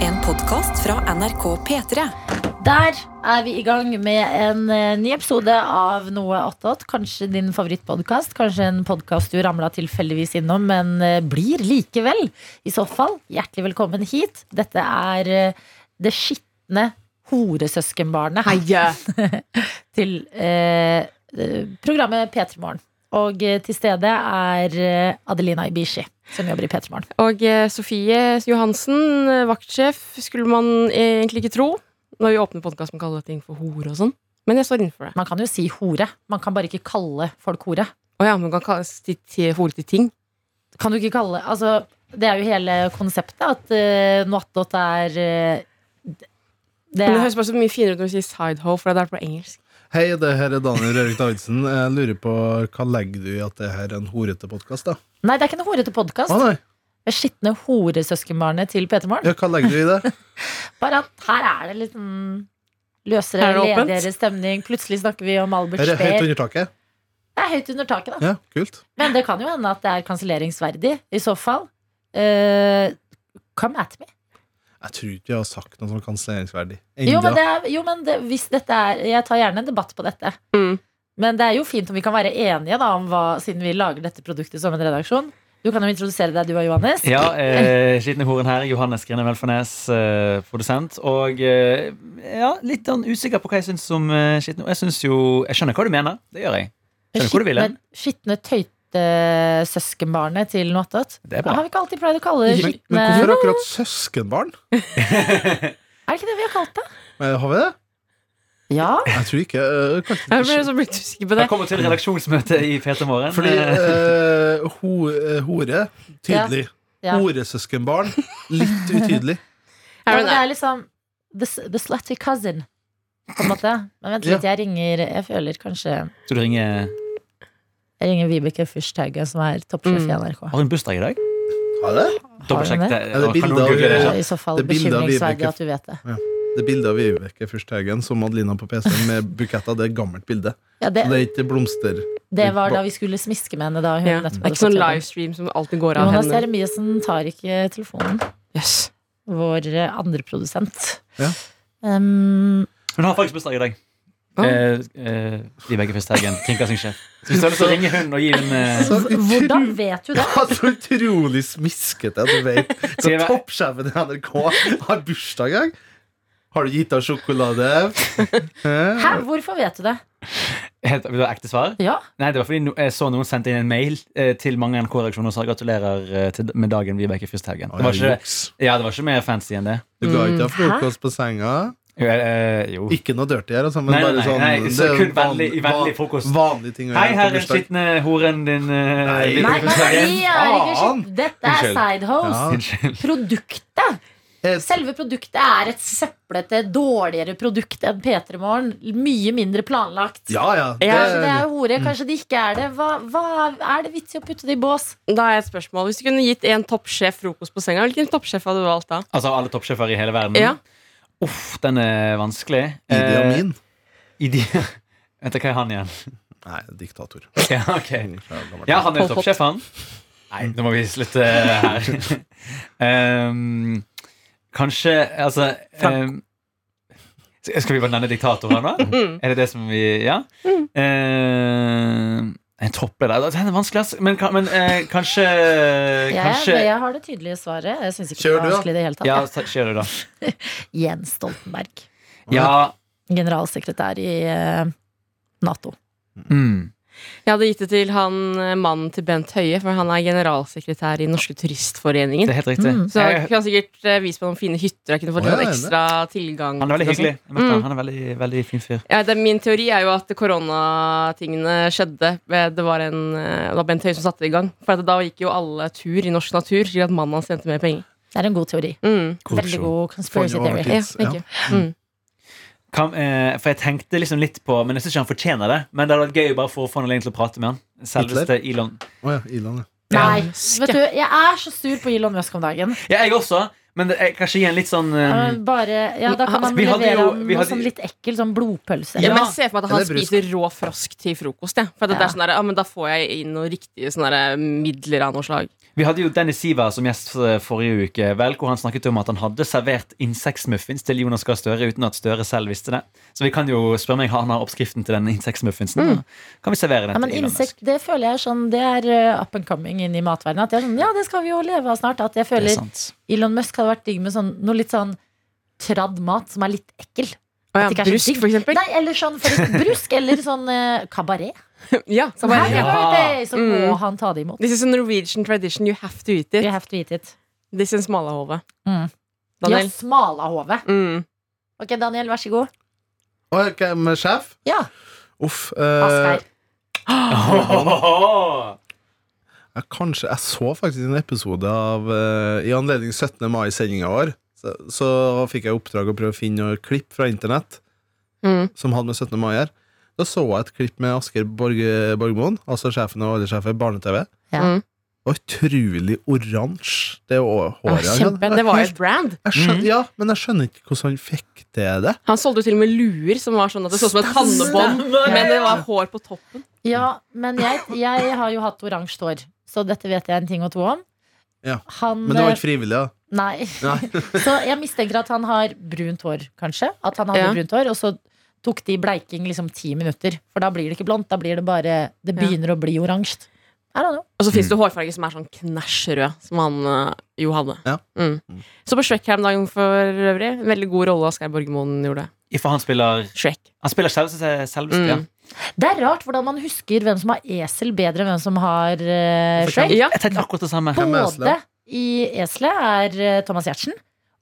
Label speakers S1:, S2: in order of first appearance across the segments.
S1: En podkast fra NRK P3.
S2: Der er vi i gang med en eh, ny episode av Noe attåt. Kanskje din favorittpodkast. Kanskje en podkast du ramla tilfeldigvis innom, men eh, blir likevel. I så fall, hjertelig velkommen hit. Dette er eh, det skitne horesøskenbarnet til eh, eh, programmet P3 Morgen. Og eh, til stede er eh, Adelina Ibishi, som jobber i P3 Morgen.
S3: Og eh, Sofie Johansen, eh, vaktsjef, skulle man egentlig ikke tro. Når vi åpner podkast, man kaller ting for hore og sånn. Men jeg står innenfor det.
S2: Man kan jo si hore. Man kan bare ikke kalle folk hore.
S3: Å ja, man kan kalle til, til, hore til ting.
S2: kan du ikke kalle altså, Det er jo hele konseptet at uh, noe attåt er eh, det
S3: Men det
S2: er
S3: høres bare så mye finere ut når vi sier sidehoe, for det er på engelsk.
S4: Hei, det her er Daniel Rørik Davidsen. Jeg lurer på hva legger du i at det her er en horete podkast, da?
S2: Nei, det er ikke en horete podkast.
S4: Å, nei.
S2: Det er skitne horesøskenbarnet til Peter Morgen.
S4: Ja, hva legger du i det?
S2: Bare at her er det litt sånn løsere,
S3: Her er det åpent.
S2: ledigere stemning. Plutselig snakker vi om Albert
S4: Her er høyt
S2: Speer.
S4: under taket?
S2: Det er høyt under taket, da.
S4: Ja, kult.
S2: Men det kan jo hende at det er kanselleringsverdig. I så fall. eh, come at me.
S4: Jeg tror ikke vi har sagt noe sånn kanselleringsverdig
S2: Jo, men,
S4: ennå.
S2: det er, jo, men det, hvis dette er Jeg tar gjerne en debatt på dette.
S3: Mm.
S2: Men det er jo fint om vi kan være enige da, om hva, siden vi lager dette produktet som en redaksjon. Du kan jo introdusere deg, du og Johannes.
S5: Ja, eh, skitne horen her. Johannes Grine Velfarnes, eh, produsent. Og eh, ja, litt sånn usikker på hva jeg syns om eh, skitne hor. Jeg syns jo Jeg skjønner hva du mener. Det gjør jeg. Skjønner hvor du vil hen.
S2: Skitne- Skitne tøytesøskenbarnet til Noattat.
S5: Det er
S2: Har
S5: bra.
S2: vi ikke alltid pleid å kalle det
S4: Men, men
S2: skitne Er
S4: hvorfor akkurat søskenbarn?
S2: det ikke det vi har kalt det?
S4: Eh, Har vi det?
S2: Ja.
S4: Jeg tror ikke. eh, kanskje
S3: Jeg ble
S4: ikke.
S3: så blitt usikker på det.
S5: Velkommen til redaksjonsmøte i PT
S2: sånn.
S5: Morgen.
S4: Fordi
S5: Eh,
S4: eh, ho, eh, hore tydelig.
S2: ja.
S4: Horesøskenbarn litt utydelig.
S2: ja
S3: Er
S2: men det
S3: det det?
S2: er liksom the, s- the slutty cousin, på en måte. Men vent litt, jeg ringer Jeg føler kanskje
S5: Skal du ringe
S2: Jeg ringer Vibeke Fürsthaug, som er toppsjef i
S3: Mm.
S2: NRK.
S5: Har hun bursdag i dag?
S4: Har det?
S5: Dobbeltsjekk
S2: hun det?
S5: det.
S4: Ja, det er
S5: Kan
S4: bilder
S5: noen google det?
S4: av-
S2: I så fall
S4: Det bildet av
S2: bekymringsverdig
S4: Vibeke-
S2: at du vet det.
S4: Det bildet av Vibeke Fyrsthaugen som Adelina på PC-en med buketter, det er et gammelt bilde.
S2: Ja,
S4: Så det
S2: det,
S4: er ikke blomster.
S2: det var da vi skulle smiske med henne da hun
S3: Ja. Det
S2: nettopp
S3: er
S2: hadde
S3: ikke
S2: fått
S3: sånn
S2: jobben.
S3: livestream som alltid går av
S2: Jonas
S3: henne.
S2: Jeremiassen tar ikke telefonen.
S3: Yes.
S2: Vår eh, andre produsent.
S4: Ja.
S2: Um,
S5: Hun har faktisk bursdag i dag.
S3: Ja.
S5: Eh, eh, Vibeke Fisthagen, kringkastingssjef. Så hvis du har lyst til å ringe hun og gi hun eh,
S4: Så
S2: hv- hvordan vet du det?
S4: Ja, så Altså, utrolig smiskete at du vet Så
S5: Skal jeg være-
S4: toppsjefen i NRK har bursdag i dag. Har du gitt av sjokolade?
S2: Hæ, hvorfor vet du det?
S5: helt, Vil du ha ekte svar?
S2: Ja,
S5: Nei, det var fordi no, jeg så noen sendte inn en mail eh, til mange NRK-redaksjoner og sa gratulerer eh, til, med dagen, Vibeke Fysthaugen. Det, var ikke-
S4: Juks.
S5: ja, det var ikke mer fancy enn det.
S4: Du ga ikke av
S2: Mm,
S4: frokost på senga?
S5: Jo, eh, jo.
S4: Ikke noe dirty her, altså, men
S5: Nei, nei,
S4: bare sånn
S5: nei, nei, så
S4: det er
S5: kun vennlig-
S4: van-
S5: i vennlig
S4: van-
S5: frokost.
S4: Vanlige ting å
S5: Hei,
S4: gjøre
S5: her
S4: på
S5: er
S4: bursdag.
S5: skitne horen din. eh,
S4: Nei.
S5: Vibeke
S2: Nei, men
S5: Fürsthagen.
S2: vi er ikke
S4: Faen.
S2: skitt. Dette er
S5: Unnskyld.
S2: sidehouse.
S5: Unnskyld.
S2: Produktet.
S4: Eh,
S2: Selve produktet er et søplete, dårligere produkt enn P3 Morgen. Mye mindre planlagt.
S4: Ja, ja.
S2: Kanskje det
S4: Det,
S2: er hore, kanskje det ikke er det. Hva, hva er det vits i å putte det i bås?
S3: Da har jeg et spørsmål. Hvis du kunne gitt en toppsjef frokost på senga, hvilken toppsjef hadde du valgt da?
S5: Altså alle toppsjefer i hele verden?
S3: Ja.
S5: Uff, den er vanskelig.
S4: Idi
S5: Eh,
S4: Amin?
S5: Idi Vent, hva er han igjen?
S4: Nei, diktator.
S5: Ja, ok. ja han er
S3: Pol Pot.
S5: toppsjef, han. Nei, nå må vi slutte her. Ehm, kanskje Altså ehm, sk- Skal vi bare nevne diktatoren, da? Er det det som vi Ja? Ehm, en toppleder Den er vanskelig, altså. Men, kan- men eh, kanskje Kanskje
S2: Jeg, jeg har det tydelige svaret. Jeg synes ikke det
S4: Kjør
S2: er
S4: du, da.
S2: vanskelig i det hele tatt.
S5: Ja, ta- kjør du, da.
S2: Jens Stoltenberg.
S5: Ja.
S2: Generalsekretær i eh, Nato.
S5: Mm.
S3: Jeg hadde gitt det til han eh, mannen til Bent Høie, for han er generalsekretær i Norske Turistforeningen.
S5: Det er helt riktig.
S2: Mm.
S3: Så jeg
S5: Jeg-
S3: kunne sikkert eh, vist meg noen fine hytter. Jeg kunne fått
S4: Å, ja,
S3: litt
S4: ja,
S3: ekstra tilgang.
S5: han er veldig
S3: til det.
S5: hyggelig. Jeg møtte han.
S3: Mm.
S5: Han er veldig, veldig fin fyr.
S3: Ja, det, min teori er jo at koronatingene skjedde. ved- Det var, en, eh, det var Bent Høie som satte det i gang. For at da gikk jo alle tur i norsk natur, slik at mannen hans tjente mer penger.
S2: Det er en god teori.
S3: Mm.
S2: Veldig god conspiracy
S4: Forrige
S2: theory.
S4: år.
S3: Ja,
S4: Yes,
S3: thank
S4: ja.
S3: you. Mm.
S5: Kan, eh, for jeg tenkte liksom litt på Men jeg syns ikke han fortjener det. Men det hadde vært gøy bare for å få anledning til å prate med han. Selveste Elon.
S4: Å ja, Ilan, ja.
S2: Nei,
S3: Elsker.
S2: vet du, jeg er så sur på Elon Musk om dagen.
S5: Ja, jeg også, men det, jeg, kanskje gi en litt sånn eh,
S2: Han Bare, ja, da kan man
S5: Vi hadde
S2: levere
S5: jo-
S2: ham
S5: vi
S2: noe
S5: hadde-
S2: sånn litt ekkel sånn blodpølse.
S3: Ja,
S5: Ja.
S3: men jeg ser for meg at han
S4: Eller brusk.
S3: spiser rå frosk til frokost. Ja. For at det
S2: Ja.
S3: er sånn der, ja, men da får jeg inn noen riktige sånne der, eh, midler av noe slag.
S5: Vi hadde jo Dennis Siver som gjest eh, forrige uke, vel, hvor han snakket om at han hadde servert insektmuffins til Jonas Gahr Støre uten at Støre selv visste det. Så vi kan jo spørre meg, har han har oppskriften til den insektmuffinsen? Kan vi servere den
S2: Mm. Ja, men
S5: til Elon
S2: insekt,
S5: Musk?
S2: det føler jeg er sånn Det er eh, up and coming inn i matverdenen. At det er sånn, ja, det skal vi jo leve av snart. At jeg
S5: Det er
S2: føler
S5: sant.
S2: Elon Musk hadde vært digg med sånn, noe litt sånn tradd mat som er litt ekkel.
S3: Å ja,
S2: At det ikke er så
S3: brusk,
S2: digg.
S3: for eksempel.
S2: Nei, eller sånn for brusk, eller sånn eh, kabaret. Sånn,
S3: Ja, så
S2: Her er
S3: bare,
S2: det, Så må
S3: Mm.
S2: han ta det imot.
S3: This is a Norwegian tradition. You have to eat it.
S2: We have to eat it.
S3: This is smalahove.
S2: Mm. Ja,
S3: Daniel.
S2: smalahove.
S3: Mm.
S2: Ok, Daniel, vær så god.
S4: Og hvem er sjef?
S2: Ja,
S4: Uff.
S2: Asgeir.
S4: Eh,
S5: Åhåhå!
S4: jeg, kanskje, jeg så faktisk en episode av eh, I anledning 17. mai-sendinga vår. Så, så fikk jeg i oppdrag å prøve å finne noen klipp fra internett
S3: Mm.
S4: som hadde med 17. mai å gjøre. Da så jeg et klipp med Asker Borge, Borgmoen, altså sjefen og alle sjefer i Barne-TV.
S2: Ja.
S3: Mm.
S4: Og Utrolig oransje, det å-
S2: Ah,
S4: håret. han hadde.
S2: kjempe.
S3: Men det var jo et brand.
S4: Jeg skjønner, Ja, men jeg skjønner ikke hvordan han fikk til det.
S3: Han solgte jo til og med luer som var sånn at det så ut som et pannebånd, men det var hår på toppen.
S2: ja men jeg, jeg har jo hatt oransje hår, så dette vet jeg en ting og to om.
S4: Ja,
S2: Han,
S4: Men det var
S2: eh,
S4: ikke frivillig, da.
S2: Nei.
S4: Nei.
S2: så jeg mistenker at han har brunt hår, kanskje. At han hadde
S3: Ja.
S2: brunt hår, og så tok de bleiking liksom ti minutter. For da blir det ikke blondt, da blir det bare Det
S3: Ja.
S2: begynner å bli oransje. I don't know.
S3: Og så
S4: Mm.
S3: fins det hårfarger som er sånn knæsjrød, som han eh, jo hadde.
S4: Ja.
S3: Mm. Så på Shrek her om dagen for øvrig. Veldig god rolle Asgeir Borgermoen gjorde.
S5: For han spiller,
S3: Shrek.
S5: han spiller selveste seg selveste,
S3: Mm.
S5: ja.
S2: Det er rart hvordan man husker hvem som har esel, bedre enn hvem som har uh, Shrek.
S3: Ja.
S5: Jeg tenkte akkurat det samme.
S4: Hvem er
S2: Både
S4: eselet?
S2: i eselet er eh, Thomas Giertsen,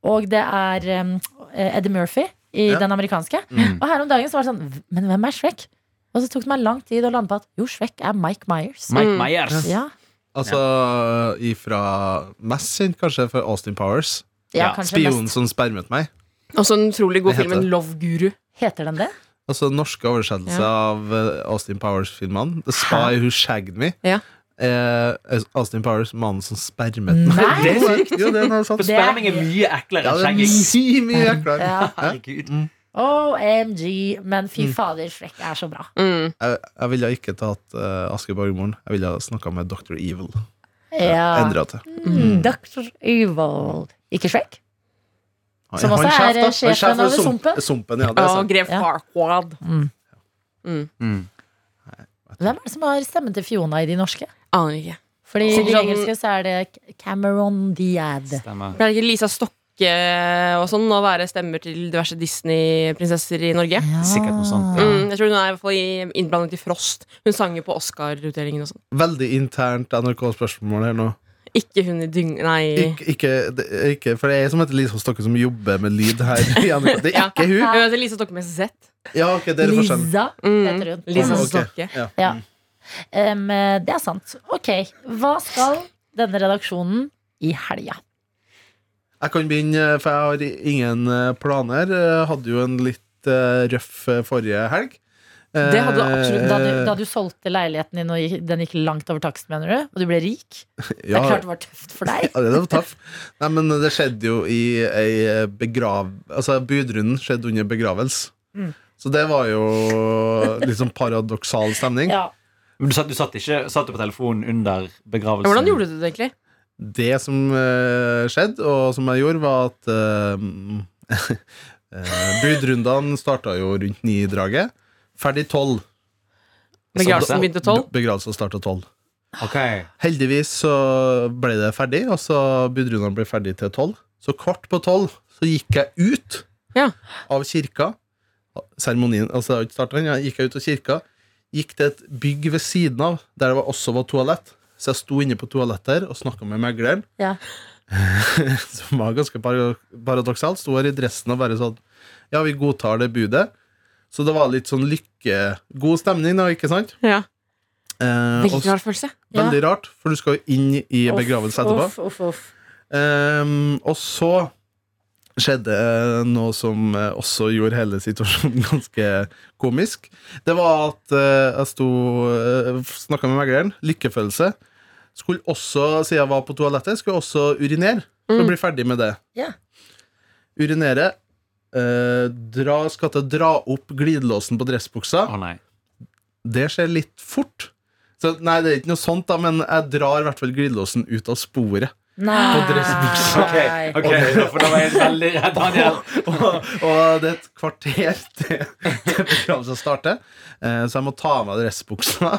S2: og det er um, Eddie Murphy i
S4: Ja.
S2: den amerikanske.
S5: Mm.
S2: Og her om dagen så var det sånn "V- Men hvem er Shrek? Og så tok det meg lang tid å lande på at jo, Shrek er Mike Myers.
S5: Mike
S3: Mm.
S5: Myers.
S2: Ja,
S4: Altså ifra mest kjent kanskje for Austin Powers.
S2: ja,
S5: Ja,
S2: kanskje
S4: Spionen
S2: mest
S4: som spermet meg.
S3: Og så den utrolig gode
S4: Det heter
S3: filmen
S4: det.
S3: Love Guru.
S2: Heter den det?
S4: Altså norske oversettelse av eh, Austin Powers-filmene. The Spy Who Shagged Me.
S3: Ja.
S4: Eh, Austin Powers, mannen som spermet meg.
S2: Nei!
S5: Det er sykt.
S4: Jo, det er noe sånt.
S5: For sperming er mye eklere
S4: Ja,
S5: enn
S4: det er
S5: skjegging.
S4: mye, Mm. mye eklere.
S2: Ja.
S5: Herregud.
S2: OMG. Men fy fader, Shrek er så bra.
S3: Mm.
S4: Jeg, jeg ville ikke tatt uh, Asker Borgmoren. Jeg ville snakka med Dr. Evil.
S2: Ja.
S4: Endra til.
S2: Mm. Dr. Evil. Ikke Shrek?
S4: Han-
S2: Som også
S4: han
S2: er,
S4: sjef, da.
S2: eh,
S4: Han
S2: sjefen
S4: sjef for
S2: over
S4: sump-
S2: Sumpen.
S4: Sumpen, ja, det er
S3: Og
S4: sant.
S3: Grev
S2: Ja.
S3: Farquad.
S2: Mm.
S3: Mm.
S5: Mm.
S2: Hvem er det som har stemmen til Fiona i de norske?
S3: Aner ikke.
S2: Fordi i
S3: Sikkert
S2: de
S3: sånn-
S2: engelske så er det K- Cameron Diaz.
S5: Stemmer.
S3: Pleier ikke Lisa Stokke og sånn å være stemmer til diverse Disney-prinsesser i Norge?
S4: Mm.
S2: Ja.
S5: Sikkert noe sånt, ja.
S3: Mm, jeg tror hun er i hvert fall i- innblandet i Frost. Hun sang jo på Oscar-utdelingen og sånn.
S4: Veldig internt NRK-spørsmål her nå.
S3: Ikke hun i dyng... Nei.
S4: Ikke, ikke, det, er ikke, for det er jeg som heter Lisa Stokke, som jobber med lyd her. i NRK. Det er ikke hun!
S3: Hun heter Lisa Stokke sånn med Z.
S4: Ja, ok, det er forskjellen.
S2: Lisa
S3: Mm.
S2: heter hun.
S3: Lisa
S4: Mm, ok.
S3: Stokke.
S2: Ja.
S4: Mm.
S2: Em, eh, det er sant. Ok, hva skal denne redaksjonen i helga?
S4: Jeg kan begynne, for jeg har ingen eh, planer. Jeg hadde jo en litt eh, røff eh, forrige helg.
S3: Det hadde du absolutt.
S2: Da, du- da du solgte leiligheten din og gikk- den gikk lankt over takst, mener du? Og du ble rik? Det er
S4: Eh, ja,
S2: klart det var tøft for deg.
S4: ja, det var tøff. Nei, men det skjedde jo i ei eh, begrav... Altså, budrunden skjedde under begravelse.
S2: Mm.
S4: Så det var jo litt sånn paradoksal stemning.
S2: Ja.
S5: Men du satt, du satt ikke satt du på telefonen under begravelsen?
S3: Ja, Hvordan gjorde du det egentlig?
S4: Det som eh, skjedde, og som jeg gjorde, var at eh, eh, budrundene starta jo rundt ni-draget. Ferdig tolv.
S3: Begravelsen begynte tolv?
S4: Begravelsen starta tolv.
S5: Ok.
S4: Heldigvis så ble det ferdig, og så budrundene ble ferdig til tolv. Så kvart på tolv så gikk jeg ut
S3: Ja.
S4: av kirka. Seremonien altså det har jo ikke startet ennå. Jeg gikk ut av kirka, gikk til et bygg ved siden av der det var- også var toalett. Så jeg sto inne på toalettet der og snakka med megleren,
S2: Ja.
S4: som var ganske par- paradoksalt. Sto her i dressen og bare sånn Ja, vi godtar det budet. Så det var litt sånn lykke God stemning, da, ikke sant?
S3: Ja.
S4: Eh, og
S3: Veldig
S4: så-
S3: rar følelse.
S2: Ja.
S4: Veldig rart, for du skal jo inn i begravelse etterpå.
S2: Uff, uff, uff.
S4: Ehm, og så skjedde eh, noe som eh, også gjorde hele situasjonen ganske komisk. Det var at eh, jeg sto snakka med megleren. Lykkefølelse. Skulle også, siden jeg var på toalettet, skulle jeg også urinere. Skulle
S3: Mm.
S4: bli ferdig med det.
S2: Ja.
S4: Urinere. eh, dra, skal til å dra opp glidelåsen på dressbuksa.
S5: Å nei.
S4: Det skjer litt fort. Så nei, det er ikke noe sånt, da, men jeg drar i hvert fall glidelåsen ut av sporet.
S2: Nei.
S5: Ok, ok, da- for da var jeg veldig redd, Daniel.
S4: Og, og det er et kvarter til, til programmet skal starte, eh, så jeg må ta av meg dressbuksa.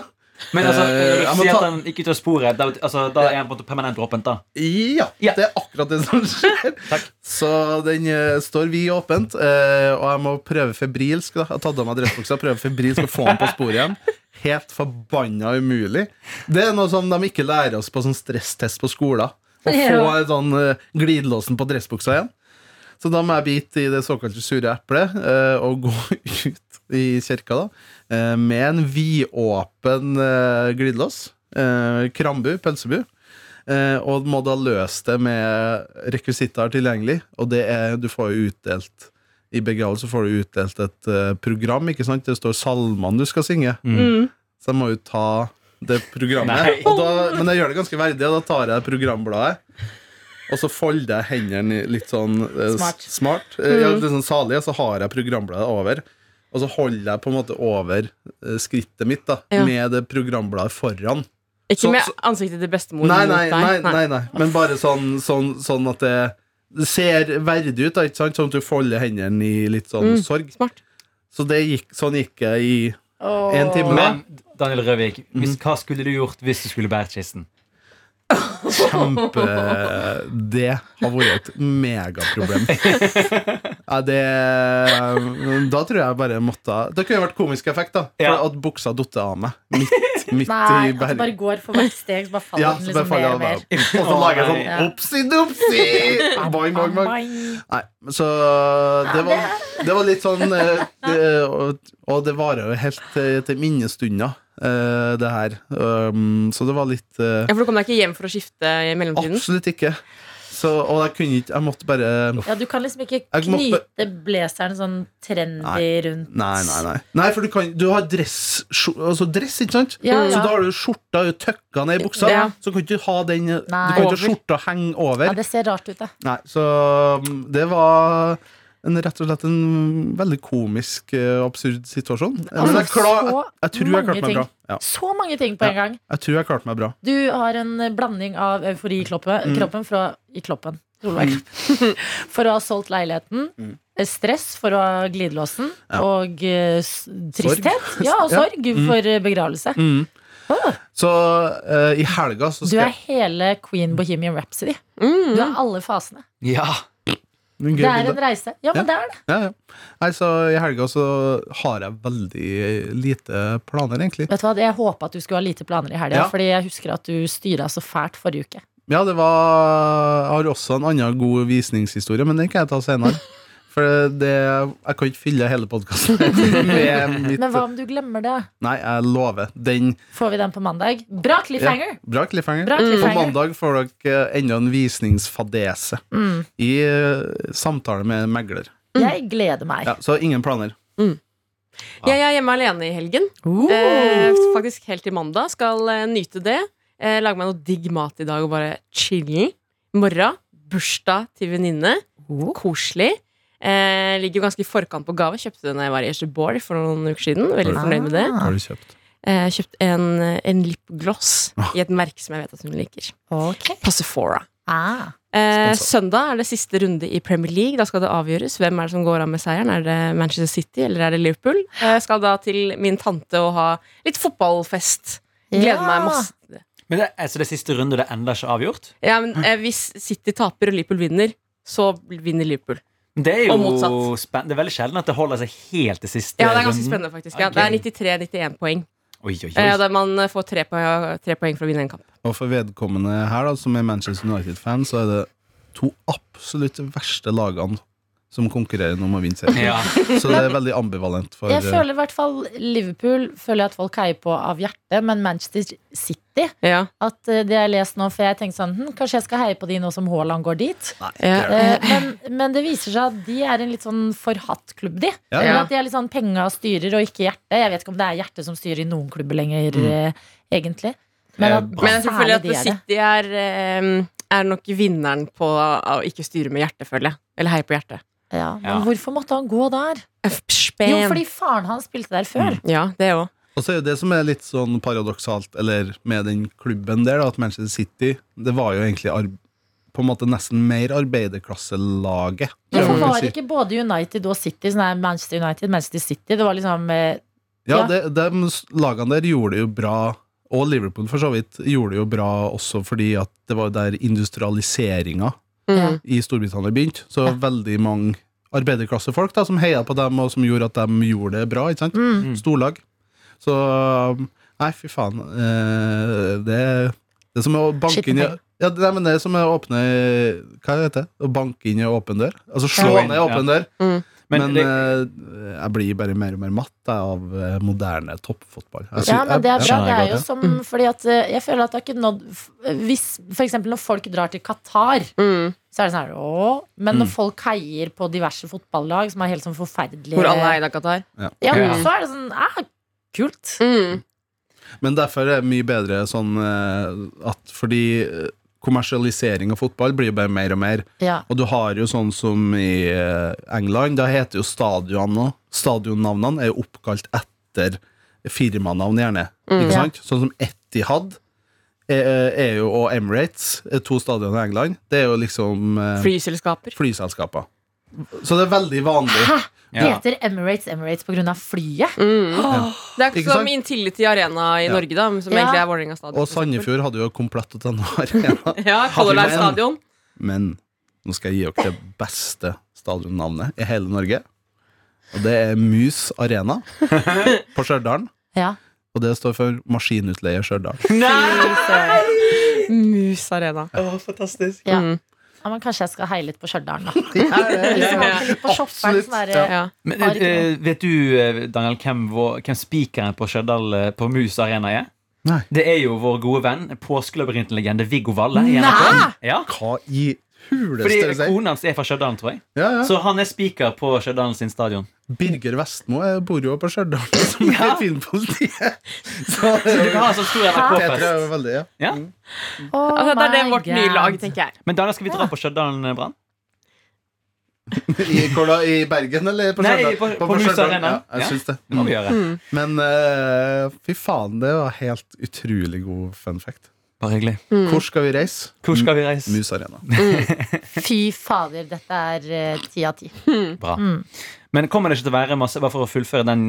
S5: Men altså,
S4: Eh,
S5: når
S4: jeg
S5: du
S4: må
S5: sier
S4: ta-
S5: at han gikk ut av sporet, da, altså, da er han på en måte permanent åpent, da?
S4: Ja,
S5: Ja.
S4: det er akkurat det som skjer. Så den eh, står vi åpent, eh, og jeg må prøve febrilsk. Da. Jeg har tatt av meg dressbuksa, prøve febrilsk å få den på sporet igjen. Helt forbanna umulig. Det er noe som de ikke lærer oss på sånn stresstest på skolen. Å få
S2: Ja.
S4: en sånn eh, glidelåsen på dressbuksa igjen. Så da må jeg bite i det såkalte sure eplet eh, og gå ut i kirka da, eh, med en vidåpen eh, glidelås. Eh, krambu, pølsebu. Eh, og må da løse det med rekvisitter tilgjengelig. Og det er, du får jo utdelt I begravelse får du utdelt et eh, program. ikke sant? Det står salmene du skal synge. Så jeg må jo ta det
S5: Nei.
S4: programmet. Og da, men jeg gjør det ganske verdig, og da tar jeg programbladet. Og så folder jeg hendene i litt sånn eh, s-
S2: Smart.
S4: smart eh, ja, litt sånn salig, og så har jeg programbladet over. Og så holder jeg på en måte over eh, skrittet mitt da,
S3: Ja.
S4: med det programbladet foran.
S3: Ikke
S4: Så-
S3: med
S4: så-
S3: ansiktet til bestemor
S4: Nei,
S3: mot
S4: nei,
S3: deg.
S4: nei, nei, nei. Men bare sånn, sånn, sånn at det det ser verdig ut, da, ikke sant? sånn at du folder hendene i litt sånn
S3: Mm.
S4: sorg.
S3: Smart.
S4: Så det gikk, sånn gikk jeg i
S2: Åh.
S4: en time.
S5: Men Daniel Røvik, hvis,
S4: Mm.
S5: hva skulle du gjort hvis du skulle båret kisten?
S4: Kjempe Det har vært et megaproblem. Ja, det Da tror jeg bare måtte Det kunne vært komisk effekt, da. For
S5: Ja.
S4: At buksa datt av meg midt,
S2: Nei,
S4: midt
S2: at
S4: i
S2: det bare
S4: berg.
S2: går for hvert steg, så bare faller
S4: Ja,
S2: den
S4: så
S2: liksom
S4: bare faller jeg
S2: mer
S4: av
S2: og mer.
S4: meg. Og så lager jeg sånn
S2: Ja.
S4: opsi-dopsi! Boing, boing, boing. Nei, så det var, det var litt sånn eh, det- og- Og det varer jo helt til, til minnestunder, eh, det her. Um, Så det var litt
S3: Ja,
S4: eh,
S3: for du kom deg ikke hjem for å skifte i mellomtiden?
S4: Absolutt ikke. Så, og jeg kunne ikke Jeg måtte bare Nei,
S2: Ja, du kan liksom ikke
S4: Jeg måtte-
S2: knyte blazeren sånn trendy
S4: Nei.
S2: rundt.
S4: nei, nei. Nei, for du kan Du har dress, skjo- altså dress ikke sant?
S2: Ja,
S4: Så
S2: ja.
S4: da har du skjorta jo tøkka ned i buksa.
S3: Ja.
S4: Så kan ikke du ha den Du
S2: Nei.
S4: kan ikke
S3: Over.
S4: ha skjorta henge over.
S2: Ja, det ser rart ut, da.
S4: Nei, så mm, det var en, rett og slett en veldig komisk, eh, absurd situasjon. Men jeg,
S2: Altså,
S4: klar, jeg,
S2: så
S4: jeg tror jeg
S2: mange
S4: klarte meg bra.
S2: ting.
S4: Ja,
S2: Så mange ting på en gang.
S4: jeg tror jeg klarte meg bra.
S2: Du har en blanding av eufori i kloppen,
S4: Mm.
S2: kroppen fra, I kloppen. For å ha solgt leiligheten. eh, Stress for å ha glidelåsen.
S4: Mm. Ja.
S2: Og eh, s- tristhet. Ja, og
S4: Ja.
S2: sorg for eh, begravelse.
S4: Mm.
S2: Åh,
S4: Så eh, i helga så
S2: du
S4: skal
S2: er hele Queen Bohemian Rhapsody. Du er alle fasene.
S5: Ja.
S4: Gøy
S2: Det er
S4: bilde.
S2: en reise. Ja, men det er det.
S4: Ja, ja. Nei, så I helga så har jeg veldig lite planer, egentlig.
S2: Vet du hva, Jeg håpa at du skulle ha lite planer i helga,
S4: Ja.
S2: Fordi jeg husker at du styra så fælt forrige uke.
S4: Ja, det var, Jeg har også en annen god visningshistorie, men den kan jeg ta senere. For det, jeg kan ikke fylle hele podkasten med mitt
S2: Men hva om du glemmer det?
S4: Nei, jeg lover. Den
S2: Får vi den på mandag? Bra cliffhanger!
S4: Bra cliffhanger.
S2: Bra
S4: Mm. På
S2: cliffhanger.
S4: mandag får dere eh, enda en visningsfadese
S2: Mm.
S4: i eh, samtale med megler.
S2: Jeg gleder meg.
S4: Ja, så ingen planer.
S3: Jeg er hjemme alene i helgen.
S2: Oh.
S3: Eh, faktisk helt til mandag. Skal eh, nyte det. Eh, lage meg noe digg mat i dag og bare chille. Morgen. Bursdag til venninne.
S2: Oh.
S3: Koselig. Eh, ligger jo ganske i forkant på gave. Kjøpte den da jeg var i Göteborg for noen uker siden. Veldig
S2: Ah.
S3: fornøyd med det.
S4: Har du kjøpt?
S3: Eh, kjøpt en, en lipgloss i et merke som jeg vet at hun liker.
S2: Ok.
S3: Passifora.
S2: Ah.
S3: Eh,
S4: Sponsor.
S3: søndag er det siste runde i Premier League. Da skal det avgjøres hvem er det som går av med seieren. Er det Manchester City eller er det Liverpool? Eh, skal da til min tante og ha litt fotballfest. Gleder
S2: Ja.
S3: meg masse. til det.
S5: Men det, altså, det siste runde, det er enda ikke avgjort?
S3: Ja, men eh, Hvis City taper og Liverpool vinner, så vinner Liverpool.
S5: Det er
S3: Og
S5: jo
S3: motsatt.
S5: spenn- Det er veldig sjelden at det holder seg helt til siste
S3: Ja, Det er ganske
S5: runden.
S3: spennende, faktisk. Ja, det er 93-91 poeng.
S5: Oi, oi, oi.
S3: Eh, der man eh, får tre poeng, tre poeng for å vinne en kamp.
S4: Og for vedkommende her, da, som er Manchester United-fan, så er det to absolutt verste lagene som konkurrerer om å vinne serien.
S5: Ja.
S4: Så det er veldig ambivalent for
S2: Jeg
S4: eh,
S2: føler i hvert fall Liverpool føler jeg at folk heier på av hjertet, men Manchester City
S3: Ja.
S2: at eh, Det jeg har lest nå, for jeg tenkte sånn hm, Kanskje jeg skal heie på de nå som Haaland går dit?
S3: Ja.
S2: Eh, men, men det viser seg at de er en litt sånn forhatt klubb, de.
S4: Ja.
S2: Eller at de er litt sånn penga styrer, og ikke hjertet. Jeg vet ikke om det er hjertet som styrer i noen klubber lenger,
S4: Mm.
S2: eh, egentlig.
S4: Eh,
S2: Men, at,
S3: Men jeg
S2: særlig
S3: tror føler at
S2: de er det.
S3: City er, eh, er nok vinneren på å ikke styre med hjertet, føler jeg. Eller heier på hjertet.
S2: Ja, men
S5: Ja.
S2: hvorfor måtte han gå der? Jo,
S3: Spen.
S2: fordi faren hans spilte der før.
S3: Ja, det òg.
S4: Og så er jo det som er litt sånn paradoksalt, eller med den klubben der, da, at Manchester City Det var jo egentlig arb på en måte nesten mer arbeiderklasselaget. tror jeg
S2: Hvorfor
S4: man kan
S2: var
S4: si.
S2: ikke både United og City sånn her Manchester United, Manchester City? Det var liksom eh,
S4: Ja,
S2: Ja.
S4: det, de s- lagene der gjorde det jo bra, og Liverpool for så vidt, gjorde det jo bra også fordi at det var der industrialiseringa
S2: Mm.
S4: i Storbritannia begynte. Så veldig mange arbeiderklassefolk da, som heia på dem, og som gjorde at de gjorde det bra. ikke sant?
S5: Mm.
S4: Storlag. Så um, Nei, fy faen. Eh, det, det er som å banke inn i
S2: Skitne
S4: ja, det, nei, men det er som å åpne Hva heter det? Å banke inn i åpen dør? Altså slå
S5: Ja.
S4: ned åpen dør. Men,
S5: Men, det,
S4: eh, jeg blir bare mer og mer matt jeg, av eh, moderne toppfotball. Jeg sy-
S2: Ja, men det er
S4: jeg-
S2: bra.
S5: skjønner
S2: Det
S5: jeg
S2: er jo
S5: godt,
S2: som
S3: Mm.
S2: Fordi at eh, jeg føler at det har ikke nådd f- Hvis f.eks. når folk drar til Qatar,
S3: Mm.
S2: så er det sånn her åh. Men når
S4: Mm.
S2: folk heier på diverse fotballag som er helt sånn forferdelige
S3: Hvor alle er eid av Qatar.
S2: Ja,
S5: Ja.
S2: så er det sånn ah, kult.
S3: Mm.
S4: Men derfor er det mye bedre sånn eh, at fordi eh, kommersialisering av fotball blir jo bare mer og mer.
S2: Ja.
S4: Og du har jo sånn som i eh, England, da heter jo stadionene Stadionnavnene er jo oppkalt etter firmanavn, gjerne. Ikke
S2: Mm. Ja.
S4: sant? Sånn som Etihad er, eh, er jo, og Emirates, er to stadioner i England. Det er jo liksom eh,
S3: Flyselskaper.
S4: flyselskaper. Så det er veldig vanlig.
S2: Hæ?
S4: eh,
S2: Det
S5: ja.
S2: heter Emirates Emirates på grunn av flyet?
S3: Mm. Det er
S4: Ikke
S3: som
S4: sant?
S3: Intility Arena i
S4: Ja.
S3: Norge, da, som
S2: Ja.
S3: egentlig er Vålerenga stadion.
S4: Og
S3: for eksempel.
S4: Sandefjord hadde jo komplett og denne arena.
S3: Ja, Color Line stadion.
S4: Men nå skal jeg gi dere det beste stadionnavnet i hele Norge. Og det er Mus Arena på Stjørdal.
S2: Ja.
S4: Og det står for Maskinutleie Stjørdal.
S3: Mus Arena.
S5: fantastisk.
S2: Ja.
S3: Mm.
S2: Ja, men kanskje jeg skal heie litt på Stjørdal, da.
S4: Det
S2: Liksom, litt på shopperen,
S4: Absolutt,
S2: sånn der,
S4: ja.
S3: Ja.
S5: Men,
S2: Har ikke
S5: eh, vet du, eh, Daniel, hvem, vår, hvem spikeren på Stjørdal eh, på Mus Arena er?
S4: Nei.
S5: Det er jo vår gode venn, påskelabyrinten-legende Viggo Valle. i
S2: Nei!
S5: NRK. Ja.
S4: Hva i
S5: Fordi
S4: huleste sier?
S5: kona hans er fra Stjørdal, tror jeg.
S4: Ja, ja.
S5: Så han er spiker på Stjørdal sin stadion.
S4: Birger Vestmo eh, bor jo på Stjørdal, som er
S5: Ja.
S4: filmpolitiet. Så det
S5: Du
S4: er
S5: kan
S4: jo-
S5: ha en sånn stor
S4: Petra er
S5: NRK-fest.
S4: jo veldig, ja.
S5: Ja.
S2: Oh
S3: Altså, det er det
S2: my
S3: vårt nye
S2: God.
S3: lag, tenker jeg.
S5: Men Daniel, skal vi dra på Stjørdal eh, Brann?
S4: I, hvor da? I Bergen, eller på
S5: Nei,
S4: Stjørdal?
S5: på- på Mus
S4: Stjørdal,
S5: Arena.
S4: Ja,
S5: Ja.
S4: jeg syns det.
S5: Det må vi gjøre.
S4: Men eh, fy faen, det var helt utrolig god fun fact.
S5: Bare hyggelig.
S4: Hvor skal vi reise?
S5: Hvor skal vi reise?
S4: Mus Arena.
S2: Fy fader, dette er eh, ti av ti.
S5: Bra.
S3: Mm.
S5: Men kommer det ikke til å være masse Bare for å fullføre den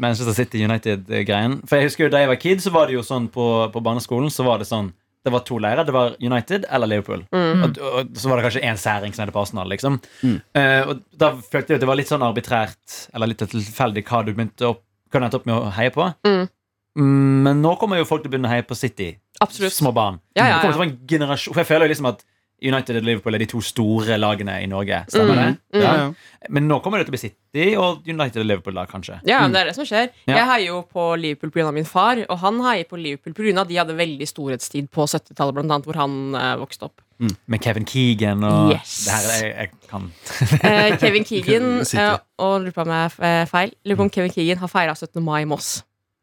S5: Manchester City United-greien. For jeg husker jo Da jeg var kid, så var det jo sånn på, på barneskolen Så var det sånn Det var to leirer. Det var United eller Liverpool.
S3: Mm.
S5: Og, og så var det kanskje én særing som heter på Arsenal. Liksom.
S4: Mm.
S5: Eh, og da følte jeg at det var litt sånn arbitrært eller litt tilfeldig hva du begynte opp, hva du endte opp med å heie på.
S3: Mm.
S5: Mm, Men nå kommer jo folk til å begynne å heie på City.
S3: Absolutt.
S5: Små barn.
S3: Ja, ja, ja.
S5: Det kommer til å være en generasjon For jeg føler jo liksom at United og Liverpool er de to store lagene i Norge. Stemmer
S3: Mm.
S5: det?
S4: Ja, ja.
S5: Men nå kommer det til å bli City og United og Liverpool, da, kanskje.
S3: Ja, men det er det som skjer.
S5: Mm. Ja.
S3: Jeg heier jo på Liverpool pga. min far, og han heier på Liverpool pga. de hadde veldig storhetstid på 70-tallet, blant annet, hvor han eh, vokste opp.
S5: Med Kevin Keegan og
S3: Yes.
S5: det her er, jeg, jeg kan.
S3: Eh, Kevin Keegan
S4: City.
S3: eh, og lurer på om jeg eh, feil Lurer
S5: Mm.
S3: på om Kevin Keegan har feira 17. mai i Moss.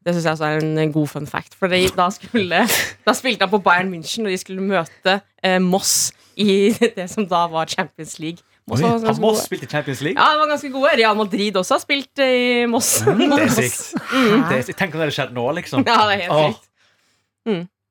S3: Det syns jeg også er en god fun fact. For de, da, skulle, da spilte han på Bayern München, og de skulle møte eh, Moss i det som da var Champions League. Moss var ganske
S5: Har Moss
S3: gode.
S5: spilt i Champions League?
S3: Ja, de var ganske gode. Real Madrid også har spilt eh, i Moss.
S5: Mm, Det er
S3: Moss.
S5: sykt.
S3: Mm.
S5: Det er, sykt. tenk om det hadde skjedd nå, liksom.
S3: Ja, det er helt
S5: Åh.
S3: sykt.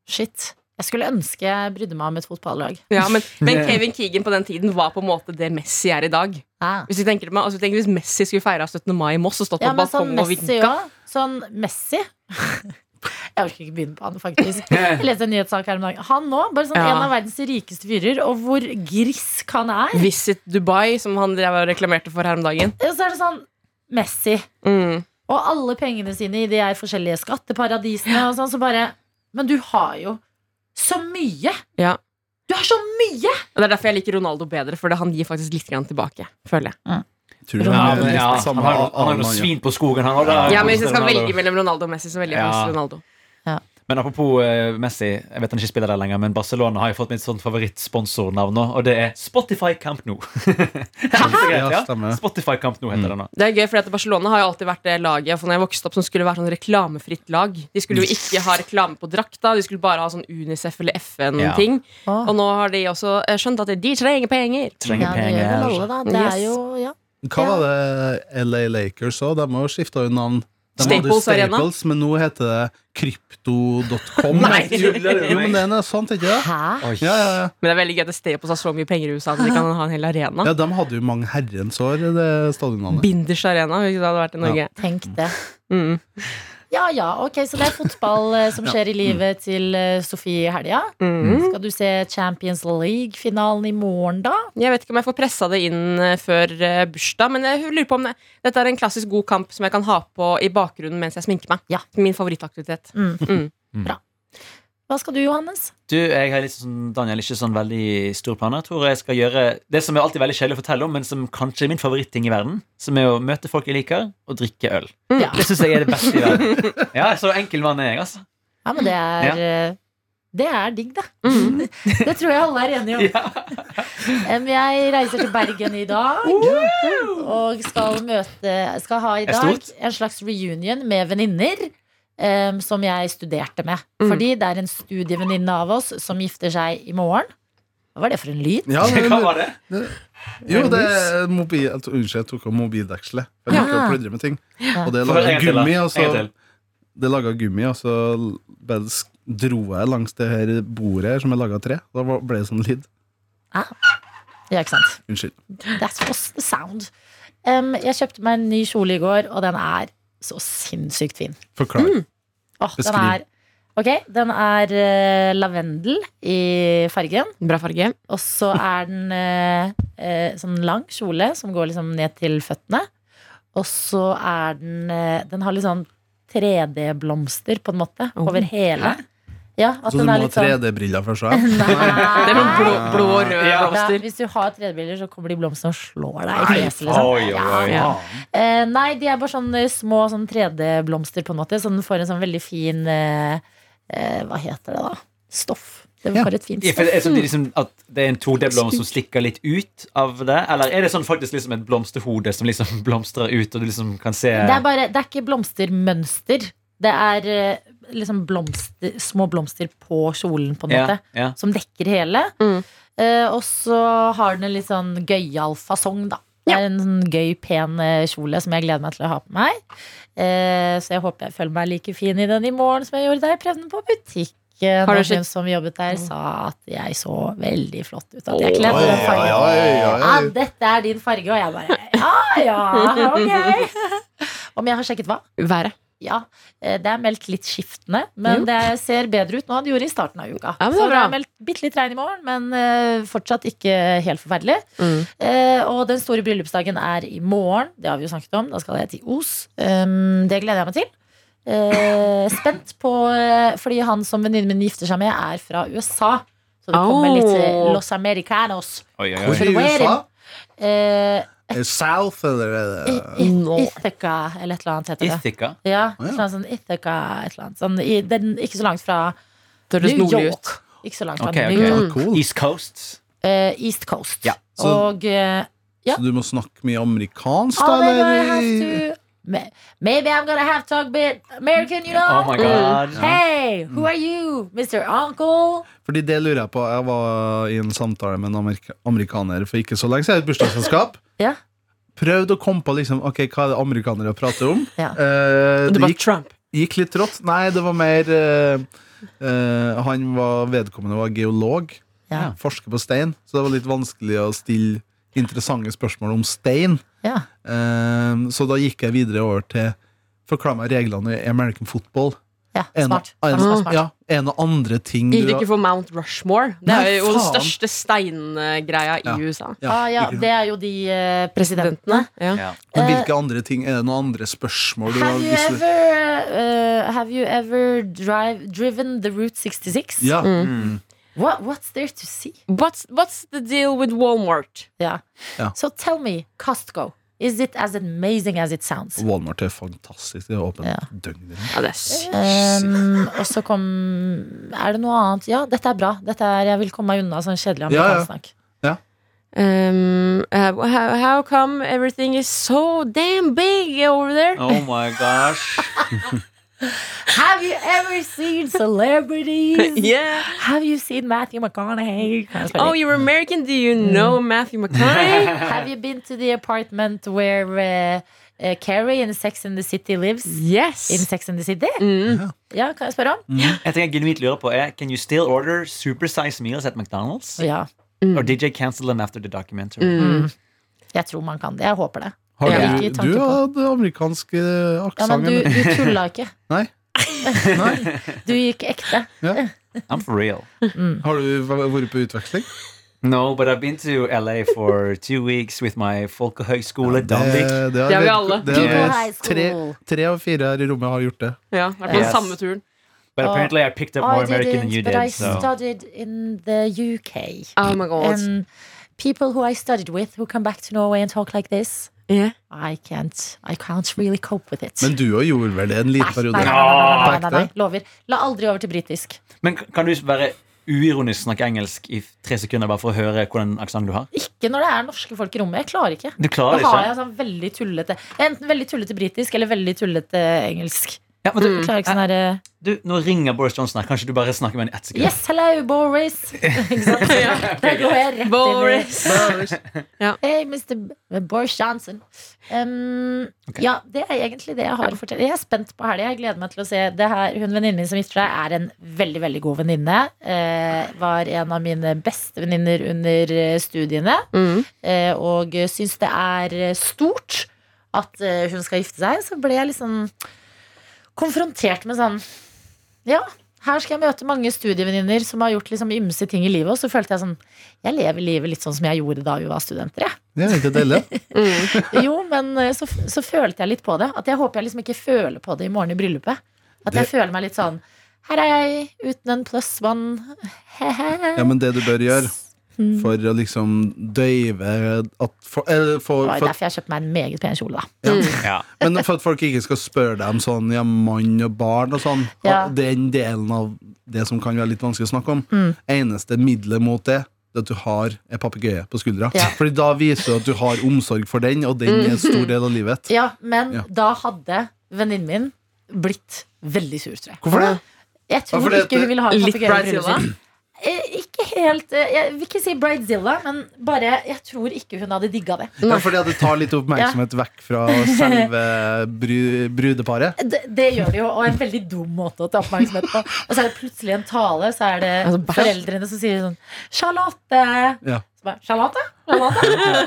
S2: Shit. Jeg skulle ønske jeg brydde meg om et fotballag.
S3: Ja, men, men
S5: Det-
S3: Kevin Keegan på den tiden var på en måte det Messi er i dag.
S2: Ja.
S3: Hvis, vi tenker, meg- altså, tenk hvis Messi skulle feira 17. mai i Moss og stått
S2: Ja,
S3: på
S2: men sånn
S3: balkongen og
S2: Messi
S3: vinka
S2: òg. Sånn Messi. Jeg orker ikke begynne på han, faktisk. Jeg leste en nyhetssak her om dagen. Han nå, bare sånn
S3: Ja.
S2: en av verdens rikeste fyrer, og hvor grisk han er.
S3: Visit Dubai, som han drev og reklamerte for her om dagen.
S2: Og så er det sånn Messi.
S3: Mm.
S2: Og alle pengene sine i de her forskjellige skatteparadisene og sånn, så bare Men du har jo så mye!
S3: Ja.
S2: Du har så mye!
S3: Og Det er derfor jeg liker Ronaldo bedre, for det- han gir faktisk litt grann tilbake. Føler jeg.
S4: Tror du
S5: Ja,
S4: han er
S5: men,
S4: litt
S5: ja. Han
S4: samme
S5: har jo- han har jo
S4: annen
S5: noe
S4: mann, ja.
S5: svin på skogen, han òg.
S3: Ja, men Hvis jeg skal velge mellom Ronaldo og Messi, så velger jeg
S5: Ja.
S3: faktisk Ronaldo.
S5: Men apropos eh, Messi, jeg vet han ikke spiller der lenger, men Barcelona har jo fått mitt sånn favorittsponsornavn nå, og det er Spotify Camp Nou.
S4: Ja,
S5: ja,
S4: stemmer. Mm.
S5: Spotify Camp Nou heter det nå.
S3: Det er gøy, for at Barcelona har jo alltid vært det laget for når jeg vokste opp, som skulle være sånn reklamefritt lag. De skulle jo ikke ha reklame på drakta, de skulle bare ha sånn Unicef eller FN-ting. Og nå har de også eh, skjønt at de trenger penger.
S2: Ja,
S5: Trenger
S2: det gjør vel
S5: penger.
S2: alle, da. Det er
S3: Yes.
S2: jo ja.
S4: Hva var det LA Lakers òg? De har jo skifta navn Da var det
S3: Staples Arena.
S4: Staples, men nå heter det krypto.com.
S3: Nei.
S4: jo, men det er noe sånt, ikke det?
S2: Hæ?
S5: Oi.
S4: Ja, ja, ja.
S3: Men det er veldig gøy at Staples har så mye penger i USA at de kan ha en hel arena.
S4: ja, de hadde jo mange herrens år, det stadionene.
S3: Binders arena, hvis det hadde vært i Norge.
S2: Tenk det.
S3: Mm.
S2: Ja ja, ok, så det er fotball eh, som skjer i livet til eh, Sofie i helga.
S3: Mm.
S2: Skal du se Champions League-finalen i morgen, da?
S3: Jeg vet ikke om jeg får pressa det inn eh, før eh, bursdag, men jeg lurer på om det, dette er en klassisk god kamp som jeg kan ha på i bakgrunnen mens jeg sminker meg.
S2: Ja.
S3: Min favorittaktivitet.
S2: Mm.
S3: Mm.
S2: Bra. Hva skal du, Johannes?
S5: Du, jeg har litt sånn, Daniel, ikke sånn veldig store planer. Jeg tror jeg skal gjøre det som er alltid veldig kjedelig å fortelle om, men som kanskje er min favoritting i verden. Som er å møte folk jeg liker, og drikke øl.
S2: Ja.
S5: Det syns jeg er det beste i verden. Ja, så enkel mann er jeg, altså.
S2: Ja, men det er
S5: Ja.
S2: eh, Det er digg, da.
S3: Mm.
S2: Det tror jeg alle er enige om.
S5: Ja.
S2: Em, Jeg reiser til Bergen i dag og skal møte Skal ha i
S5: Det er
S2: dag
S5: stort.
S2: en slags reunion med venninner em, som jeg studerte med.
S3: Mm.
S2: Fordi det er en studievenninne av oss som gifter seg i morgen. Hva var det for en lyd?
S4: Ja, men,
S5: Hva var det?
S4: jo, det er mobil... jeg tok- Unnskyld, jeg tok av mobildekselet. Jeg
S2: Ja.
S4: liker å pludre med ting. Og det
S5: Få høre
S4: laga
S5: en gang til, da.
S4: gummi, altså. og så
S5: En gang til.
S4: Det laga gummi, og så bare sk- dro jeg langs det her bordet her som er laga av tre. Da var- ble det sånn lyd.
S2: Ja, ikke sant?
S4: Unnskyld.
S2: That was the sound. Em, jeg kjøpte meg en ny kjole i går, og den er så sinnssykt fin.
S4: Forklar.
S2: Mm. Åh, den
S4: Beskriv.
S2: er Ok, den er eh, lavendel i fargen.
S3: Bra farge.
S2: Og så er den eh, eh, sånn lang kjole som går liksom ned til føttene. Og så er den eh, Den har litt sånn 3D-blomster, på en måte,
S3: Oh,
S2: over hele. Ja, at
S4: Så du
S2: den
S4: må
S2: er
S4: ha
S2: litt sånn
S4: 3D-briller først, ja?
S3: Det er noen blå,
S2: Nei.
S3: blå og røde
S5: Ja.
S2: Ja,
S3: blomster.
S2: hvis du har 3D-briller, så kommer de blomstene og slår deg i
S4: Nei,
S2: fjeset. Liksom.
S5: Oi, oi, oi.
S3: Ja.
S2: Eh, nei, de er bare sånn eh, små sånn 3D-blomster, på en måte. Så den får en sånn veldig fin eh, eh, Hva heter det, da? Stoff. Den
S4: Ja.
S2: får et fint
S5: Ja, for
S2: stoff.
S5: er det liksom at det er en 2D-blomst som stikker litt ut av det? Eller er det sånn faktisk liksom et blomsterhode som liksom blomstrer ut, og du liksom kan se
S2: Mm. Det er, bare, det er ikke blomstermønster. Det er eh, liksom blomster, små blomster på kjolen, på en
S5: ja,
S2: måte.
S5: ja.
S2: Som dekker hele.
S3: Mm.
S2: Eh, og så har den en litt sånn gøyal fasong, da. Det er en sånn gøy, pen eh, kjole som jeg gleder meg til å ha på meg. Eh, så jeg håper jeg føler meg like fin i den i morgen som jeg gjorde da jeg prøvde den på butikken.
S3: Har du
S2: Og
S3: sett- Mm.
S2: hun som jobbet der, sa at jeg så veldig flott ut. At
S3: Oi,
S2: jeg kledde den fargen.
S4: oi, oi,
S2: Ja,
S4: oi.
S2: dette er din farge. Og jeg bare ja, ja, ok. Om jeg har sjekket hva?
S3: Været.
S2: Ja, eh, det er meldt litt skiftende, men
S3: Jo.
S2: det ser bedre ut nå enn det gjorde i starten av uka.
S3: Ja, men det er
S2: Så det
S3: bra.
S2: er meldt bitte litt regn i morgen, men eh, fortsatt ikke helt forferdelig.
S3: Mm.
S2: Eh, og den store bryllupsdagen er i morgen, det har vi jo snakket om. Da skal jeg til Os. Um, det gleder jeg meg til. Eh, spent på eh, Fordi han som venninnen min gifter seg med, er fra USA. Så det kommer
S3: Au.
S2: litt eh, Los Americanos.
S5: Oi, oi,
S4: Hvor
S5: oi.
S4: i USA?
S2: Eh,
S4: Er det South, eller er det
S2: I- I-
S3: Nå.
S2: Ithaca, eller et eller annet heter det.
S5: Ithaca.
S2: Ja,
S4: Å, ja.
S2: sånn, sånn Ithaca, et eller annet. Sånn, i, den, ikke så langt fra
S3: Det høres
S2: New
S3: nordlig ut.
S2: York. Ikke så langt fra
S5: Ok, ok.
S2: New York.
S4: Ah, cool.
S5: East Coast.
S2: Eh, East Coast.
S5: Ja,
S4: så-
S2: Og eh, ja.
S4: Så du må snakke mye amerikansk,
S2: oh,
S4: da?
S2: maybe, I
S4: Eller?
S2: have to, ma- maybe I'm gonna have to talk a bit American, you know?
S5: Oh my god.
S2: Mm. Hey, who are you? Mr. Uncle?
S4: Fordi det lurer jeg på. Jeg var i en samtale med en amerika amerikaner for ikke så lenge siden. i Et bursdagsselskap.
S2: Ja.
S4: Prøvde å komme på liksom, ok, hva er det amerikanere prater om.
S2: Ja.
S4: Eh,
S3: Og du
S4: det
S3: bare
S4: gikk,
S3: Trump.
S4: gikk litt rått. Nei, det var mer eh, eh, Han var vedkommende var geolog.
S2: Ja.
S4: Forsker på stein. Så det var litt vanskelig å stille interessante spørsmål om stein.
S2: Ja.
S4: Eh, så da gikk jeg videre over til Forklar meg reglene i American football.
S2: ja
S4: En,
S2: smart.
S4: en,
S2: smart, smart, smart.
S4: Ja, en og andre ting
S3: Gikk
S4: du
S3: det
S4: har-
S3: ikke for Mount Rushmore? Det
S4: Nei,
S3: er jo den
S4: faen.
S3: største steingreia i
S4: Ja.
S3: USA.
S4: Ja,
S2: ah, ja,
S4: ikke sant.
S2: det er jo de eh, presidentene.
S3: Ja.
S5: Ja.
S4: Men hvilke andre ting Er det noen andre spørsmål du har
S2: Have you
S4: lyst til?
S2: ever, eh, have you ever drive, driven the Route 66?
S4: Ja. Mm.
S2: What, what's there to see?
S3: What's, what's the deal with Walmart?
S2: Ja.
S4: Ja.
S2: So tell me, Costco, is it as amazing as it sounds?
S4: Walmart er fantastisk. Det er åpent
S2: Ja.
S4: døgnet
S3: Ja, det er sykt.
S2: Um, og så kom Er det noe annet? Ja, dette er bra. Dette er, jeg vil komme meg unna sånn kjedelig
S4: Ja, ja.
S2: amerikansk snakk.
S3: Um, uh, how, how come everything is so damn big over there?
S5: Oh my gosh.
S2: Have you ever seen celebrities?
S3: Yeah.
S2: Have you seen Matthew McConaughey? Kan jeg spørre
S3: Oh,
S2: deg?
S3: you're American. Do you know Matthew
S4: Oh,
S3: McConaughey?
S2: Have you been to the apartment where eh, eh, Carrie in Sex and the City lives? In
S3: Yes.
S2: Sex and the City?
S3: Mm.
S2: Ja, kan jeg spørre om?
S4: Mm.
S5: En ting jeg genuint lurer på er Can you still order supersized meals at McDonald's?
S2: Ja, Mm.
S5: Or did they cancel them after the documentary?
S2: jeg tror man kan det. Jeg håper det.
S4: Har
S2: Ja.
S4: du,
S2: Ikke tanke
S4: du
S2: på.
S4: hadde amerikansk eh,
S2: Ja, men
S4: aksent.
S2: du, du tulla ikke.
S4: Nei. Nei.
S2: Du gikk ekte.
S5: I'm for real.
S2: Mm.
S4: Har du v- vært på utveksling?
S5: No, but I've been to LA for two weeks with my folkehøyskole Danvik.
S4: det
S3: Det har vi alle.
S4: Det har
S5: People
S4: vi-
S2: high school.
S4: tre, tre av fire her i rommet har gjort det.
S3: Ja, vært på den
S5: Yes.
S3: samme turen.
S5: But
S2: Oh.
S5: apparently I picked up more American than you
S2: but I
S5: did. So.
S2: studied in the UK.
S3: Oh my god.
S2: And people who I studied with who come back to Norway and talk like this,
S3: Yeah.
S2: I can't, I can't really cope with it.
S4: Men du òg gjorde vel det en liten
S2: nei, nei,
S4: periode?
S2: nei, nei, nei, nei,
S4: På
S2: nei,
S4: ekte?
S2: nei, lover. La aldri over til britisk.
S5: Men kan du være uironisk snakke engelsk i tre sekunder bare for å høre hvordan aksent du har?
S2: Ikke når det er norske folk i rommet. Jeg klarer ikke. Da
S5: Du klarer det
S2: har
S5: ikke.
S2: jeg sånn veldig tullete Enten veldig tullete britisk eller veldig tullete engelsk.
S5: Mm. Ja, men
S2: Jeg
S5: du,
S2: klarer ikke sånn herre
S5: du, nå ringer Boris Johnson her. Kanskje du bare snakker med ham i ett sekund?
S2: Yes, hello, Boris. Ikke sant? Da går jeg rett inn i
S3: Boris.
S2: Hey, Mr. B- Boris Johnson. Um, Ja, det er egentlig det jeg har å fortelle. Jeg er spent på helga. Jeg gleder meg til å se det her. Hun venninnen min som gifter seg, er en veldig veldig god venninne. Eh, var en av mine beste venninner under eh, studiene. Eh, og eh, syns det er eh, stort at eh, hun skal gifte seg. Så ble jeg litt sånn konfrontert med sånn Ja, her skal jeg møte mange studievenninner som har gjort liksom ymse ting i livet. Og så følte jeg sånn Jeg lever livet litt sånn som jeg gjorde da vi var studenter, jeg.
S4: Det er ikke deilig.
S2: Jo, men eh, så, så følte jeg litt på det. At jeg håper jeg liksom ikke føler på det i morgen i bryllupet. At jeg
S4: Det-
S2: føler meg litt sånn Her er jeg uten en pluss one.
S4: Ja, men det du bør gjøre
S2: Mm.
S4: for å liksom døyve at for, eller
S2: Det
S4: for,
S2: var jo
S4: for,
S2: derfor jeg kjøpte meg en meget pen kjole, da.
S5: Ja.
S4: Men for at folk ikke skal spørre deg om sånn ja, mann og barn og sånn.
S2: Ja.
S4: Den delen av det som kan være litt vanskelig å snakke om.
S2: Mm.
S4: Eneste middelet mot det det er at du har en papegøye på skuldra.
S2: Ja. Mm.
S4: Fordi da viser du at du har omsorg for den, og den er en stor del av livet.
S2: Ja, Men
S4: Ja.
S2: da hadde venninnen min blitt veldig sur, tror jeg.
S4: Hvorfor det?
S2: Jeg tror
S4: fordi at
S2: ikke
S4: det-
S2: hun ville ha en
S3: Litt
S2: papegøye i bryllupet
S3: Bridezilla.
S2: sitt. Eh, Ikke helt eh, Jeg vil ikke si Bridezilla, men bare Jeg tror ikke hun hadde digga det.
S4: Ja, fordi at det tar litt oppmerksomhet vekk fra selve bru, brudeparet.
S2: Det, det gjør det jo, og en veldig dum måte å ta oppmerksomhet på. Og så er det plutselig en tale, så er det
S3: Altså, bæsj.
S2: foreldrene som sier sånn Charlotte!
S4: Ja.
S2: Så bare, Charlotte? Charlotte?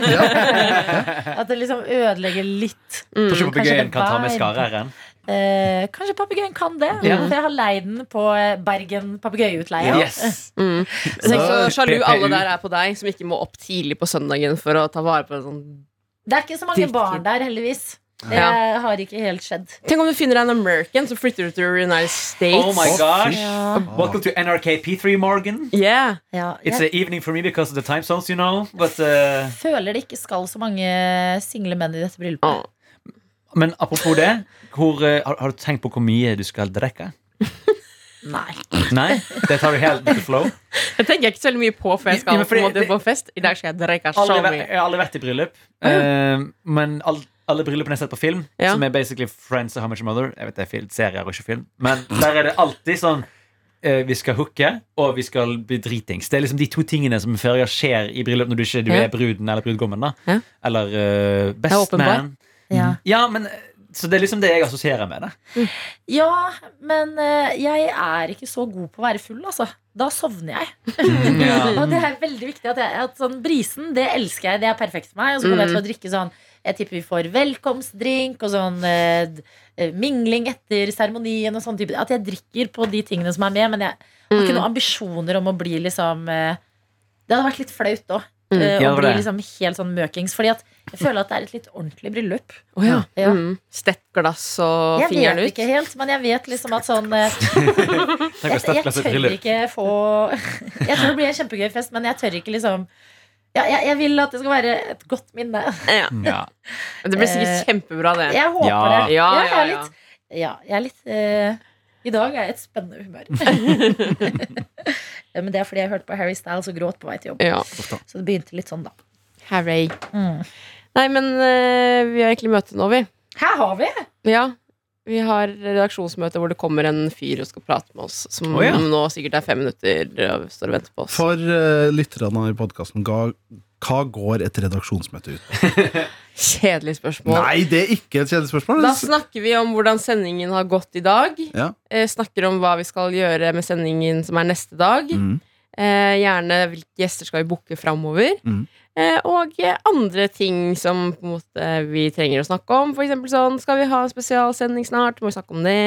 S4: Ja.
S2: At det liksom ødelegger litt.
S5: Kanskje papegøyen
S2: Mm, Kanskje det
S5: kan ta
S2: var
S5: med
S2: en-
S5: skarre-r-en?
S2: Eh, kanskje papegøyen kan det?
S5: Ja.
S2: For Jeg har leid den på eh, Bergen papegøyeutleie.
S5: Yes!
S3: Så jeg er så sjalu
S6: PPU.
S3: alle der er på deg, som ikke må opp tidlig på søndagen for å ta vare på en sånn
S2: Det er ikke så mange
S3: Dritkid.
S2: barn der, heldigvis. Det
S3: Ja.
S2: har ikke helt skjedd.
S3: Tenk om du finner en American, så flytter du til United States.
S5: Oh my
S2: Mm.
S5: gosh!
S2: Ja.
S5: Ah. Welcome to NRKP3, Morgan.
S3: Yeah.
S2: Ja,
S5: It's
S2: jeg
S5: an evening for me because of the time zones, you know. But, uh,
S2: føler det ikke skal så mange single menn i dette bryllupet.
S3: Åh.
S5: men apropos det, hvor, uh, har, har du tenkt på hvor mye du skal drikke?
S2: Nei.
S5: Nei? Det tar vi helt with the flow.
S3: Det tenker jeg ikke så veldig mye på før jeg skal
S5: Ja, men fordi
S3: på, en måte
S5: det-
S3: på fest. I dag skal jeg drikke så
S5: Aldri, vært-
S3: mye.
S5: jeg har aldri vært i bryllup, eh, men all, alle bryllupene jeg har sett på film,
S3: Ja.
S5: som er basically Friends og How Much Your Mother Jeg vet det er film, serier og ikke film, men der er det alltid sånn eh, vi skal hooke, og vi skal bli dritings. Det er liksom de to tingene som før jeg skjer i bryllup når du ikke du
S3: Ja.
S5: er bruden eller brudgommen. da
S3: Ja.
S5: Eller eh, best
S3: åpenbar.
S5: man.
S2: Ja.
S5: Ja, men eh, Så det er liksom det jeg assosierer med det.
S2: Ja, men eh, jeg er ikke så god på å være full, altså. Da sovner jeg.
S3: Mm.
S5: Ja.
S2: Og det er veldig viktig at, jeg, at sånn brisen, det elsker jeg. Det er perfekt for meg. Og så kommer jeg
S5: Mm.
S2: til å drikke sånn Jeg tipper vi får velkomstdrink og sånn eh, d- eh, mingling etter seremonien og sånn type At jeg drikker på de tingene som er med, men jeg har
S5: Mm.
S2: ikke noen ambisjoner om å bli liksom eh, Det hadde vært litt flaut òg.
S5: Mm,
S2: å
S5: Ja, det var
S2: bli
S5: det.
S2: liksom helt sånn møkings. Fordi at jeg føler at det er et litt ordentlig bryllup.
S3: Å ja.
S2: Ja.
S3: Mm. Stett glass og
S2: Jeg
S3: fingeren
S2: vet
S3: ut.
S2: ikke helt, men jeg vet liksom at sånn eh,
S5: Tenk å
S2: jeg,
S5: støtte
S2: jeg
S5: glasset i
S2: tør
S5: bryllup.
S2: ikke få Jeg tror det blir en kjempegøy fest, men jeg tør ikke liksom ja, jeg, jeg vil at det skal være et godt minne.
S3: Ja.
S5: Ja.
S3: Det blir sikkert kjempebra, det.
S2: Jeg håper
S5: Ja.
S2: det.
S3: Ja,
S2: Eh, jeg
S3: ja,
S2: er
S3: ja.
S2: litt, ja, jeg er litt eh, I dag er jeg i et spennende humør. Ja, men det er fordi jeg hørte på Harry Styles og gråt på vei til jobb.
S3: Ja.
S2: Så det begynte litt sånn, da.
S3: Hooray.
S2: Mm.
S3: Nei, men eh, vi har egentlig møte nå, vi.
S2: Her har vi!
S3: Ja. Vi har redaksjonsmøte hvor det kommer en fyr og skal prate med oss, som
S7: Å, ja.
S3: nå sikkert er fem minutter og står og venter på oss.
S4: For eh, lytterne i podkasten, hva går et redaksjonsmøte ut på?
S3: Kjedelig spørsmål.
S4: Nei, det er ikke et kjedelig spørsmål.
S3: Da snakker vi om hvordan sendingen har gått i dag.
S4: Ja.
S3: Eh, snakker om hva vi skal gjøre med sendingen som er neste dag.
S4: Mm.
S3: Eh, gjerne hvilke gjester skal vi booke framover.
S4: Mm.
S3: Eh, og eh, andre ting som på en måte vi trenger å snakke om. For eksempel sånn, skal vi ha en spesialsending snart? Må vi snakke om det?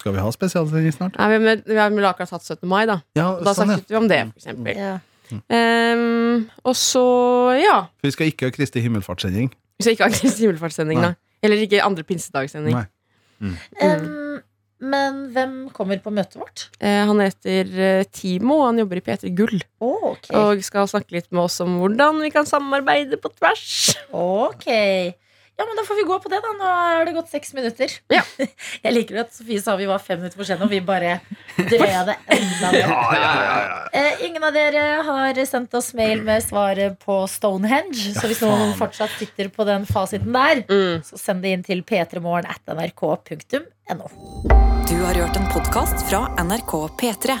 S4: Skal vi ha spesialsending snart?
S3: Nei, vi har med- vi har vel akkurat hatt 17. mai, da.
S4: Ja,
S3: Da
S4: sånn, ja.
S3: snakket vi om det, for eksempel.
S2: Ja.
S3: Ehm, og så, ja
S4: For vi skal ikke ha Kristi himmelfartssending.
S3: Hvis jeg ikke har Kristi himmelfartssending,
S4: Nei.
S3: da. Eller ikke andre pinsedagssending.
S4: Nei.
S2: Um, men hvem kommer på møtet vårt?
S3: Eh, han heter eh, Timo, og han jobber i P3 Gull.
S2: Å, ok.
S3: Og skal snakke litt med oss om hvordan vi kan samarbeide på tvers.
S2: Ok. Ja, men da får vi gå på det, da. Nå har det gått seks minutter.
S3: Ja.
S2: Jeg liker at Sofie sa vi var fem minutter for sene, og vi bare drøya det enda mer. Eh, ingen av dere har sendt oss mail med svaret på Stonehenge, så hvis noen fortsatt sitter på den fasiten der,
S3: Mm.
S2: så send det inn til p3morgen at nrk.no.
S1: Du har hørt en podkast fra NRK P3.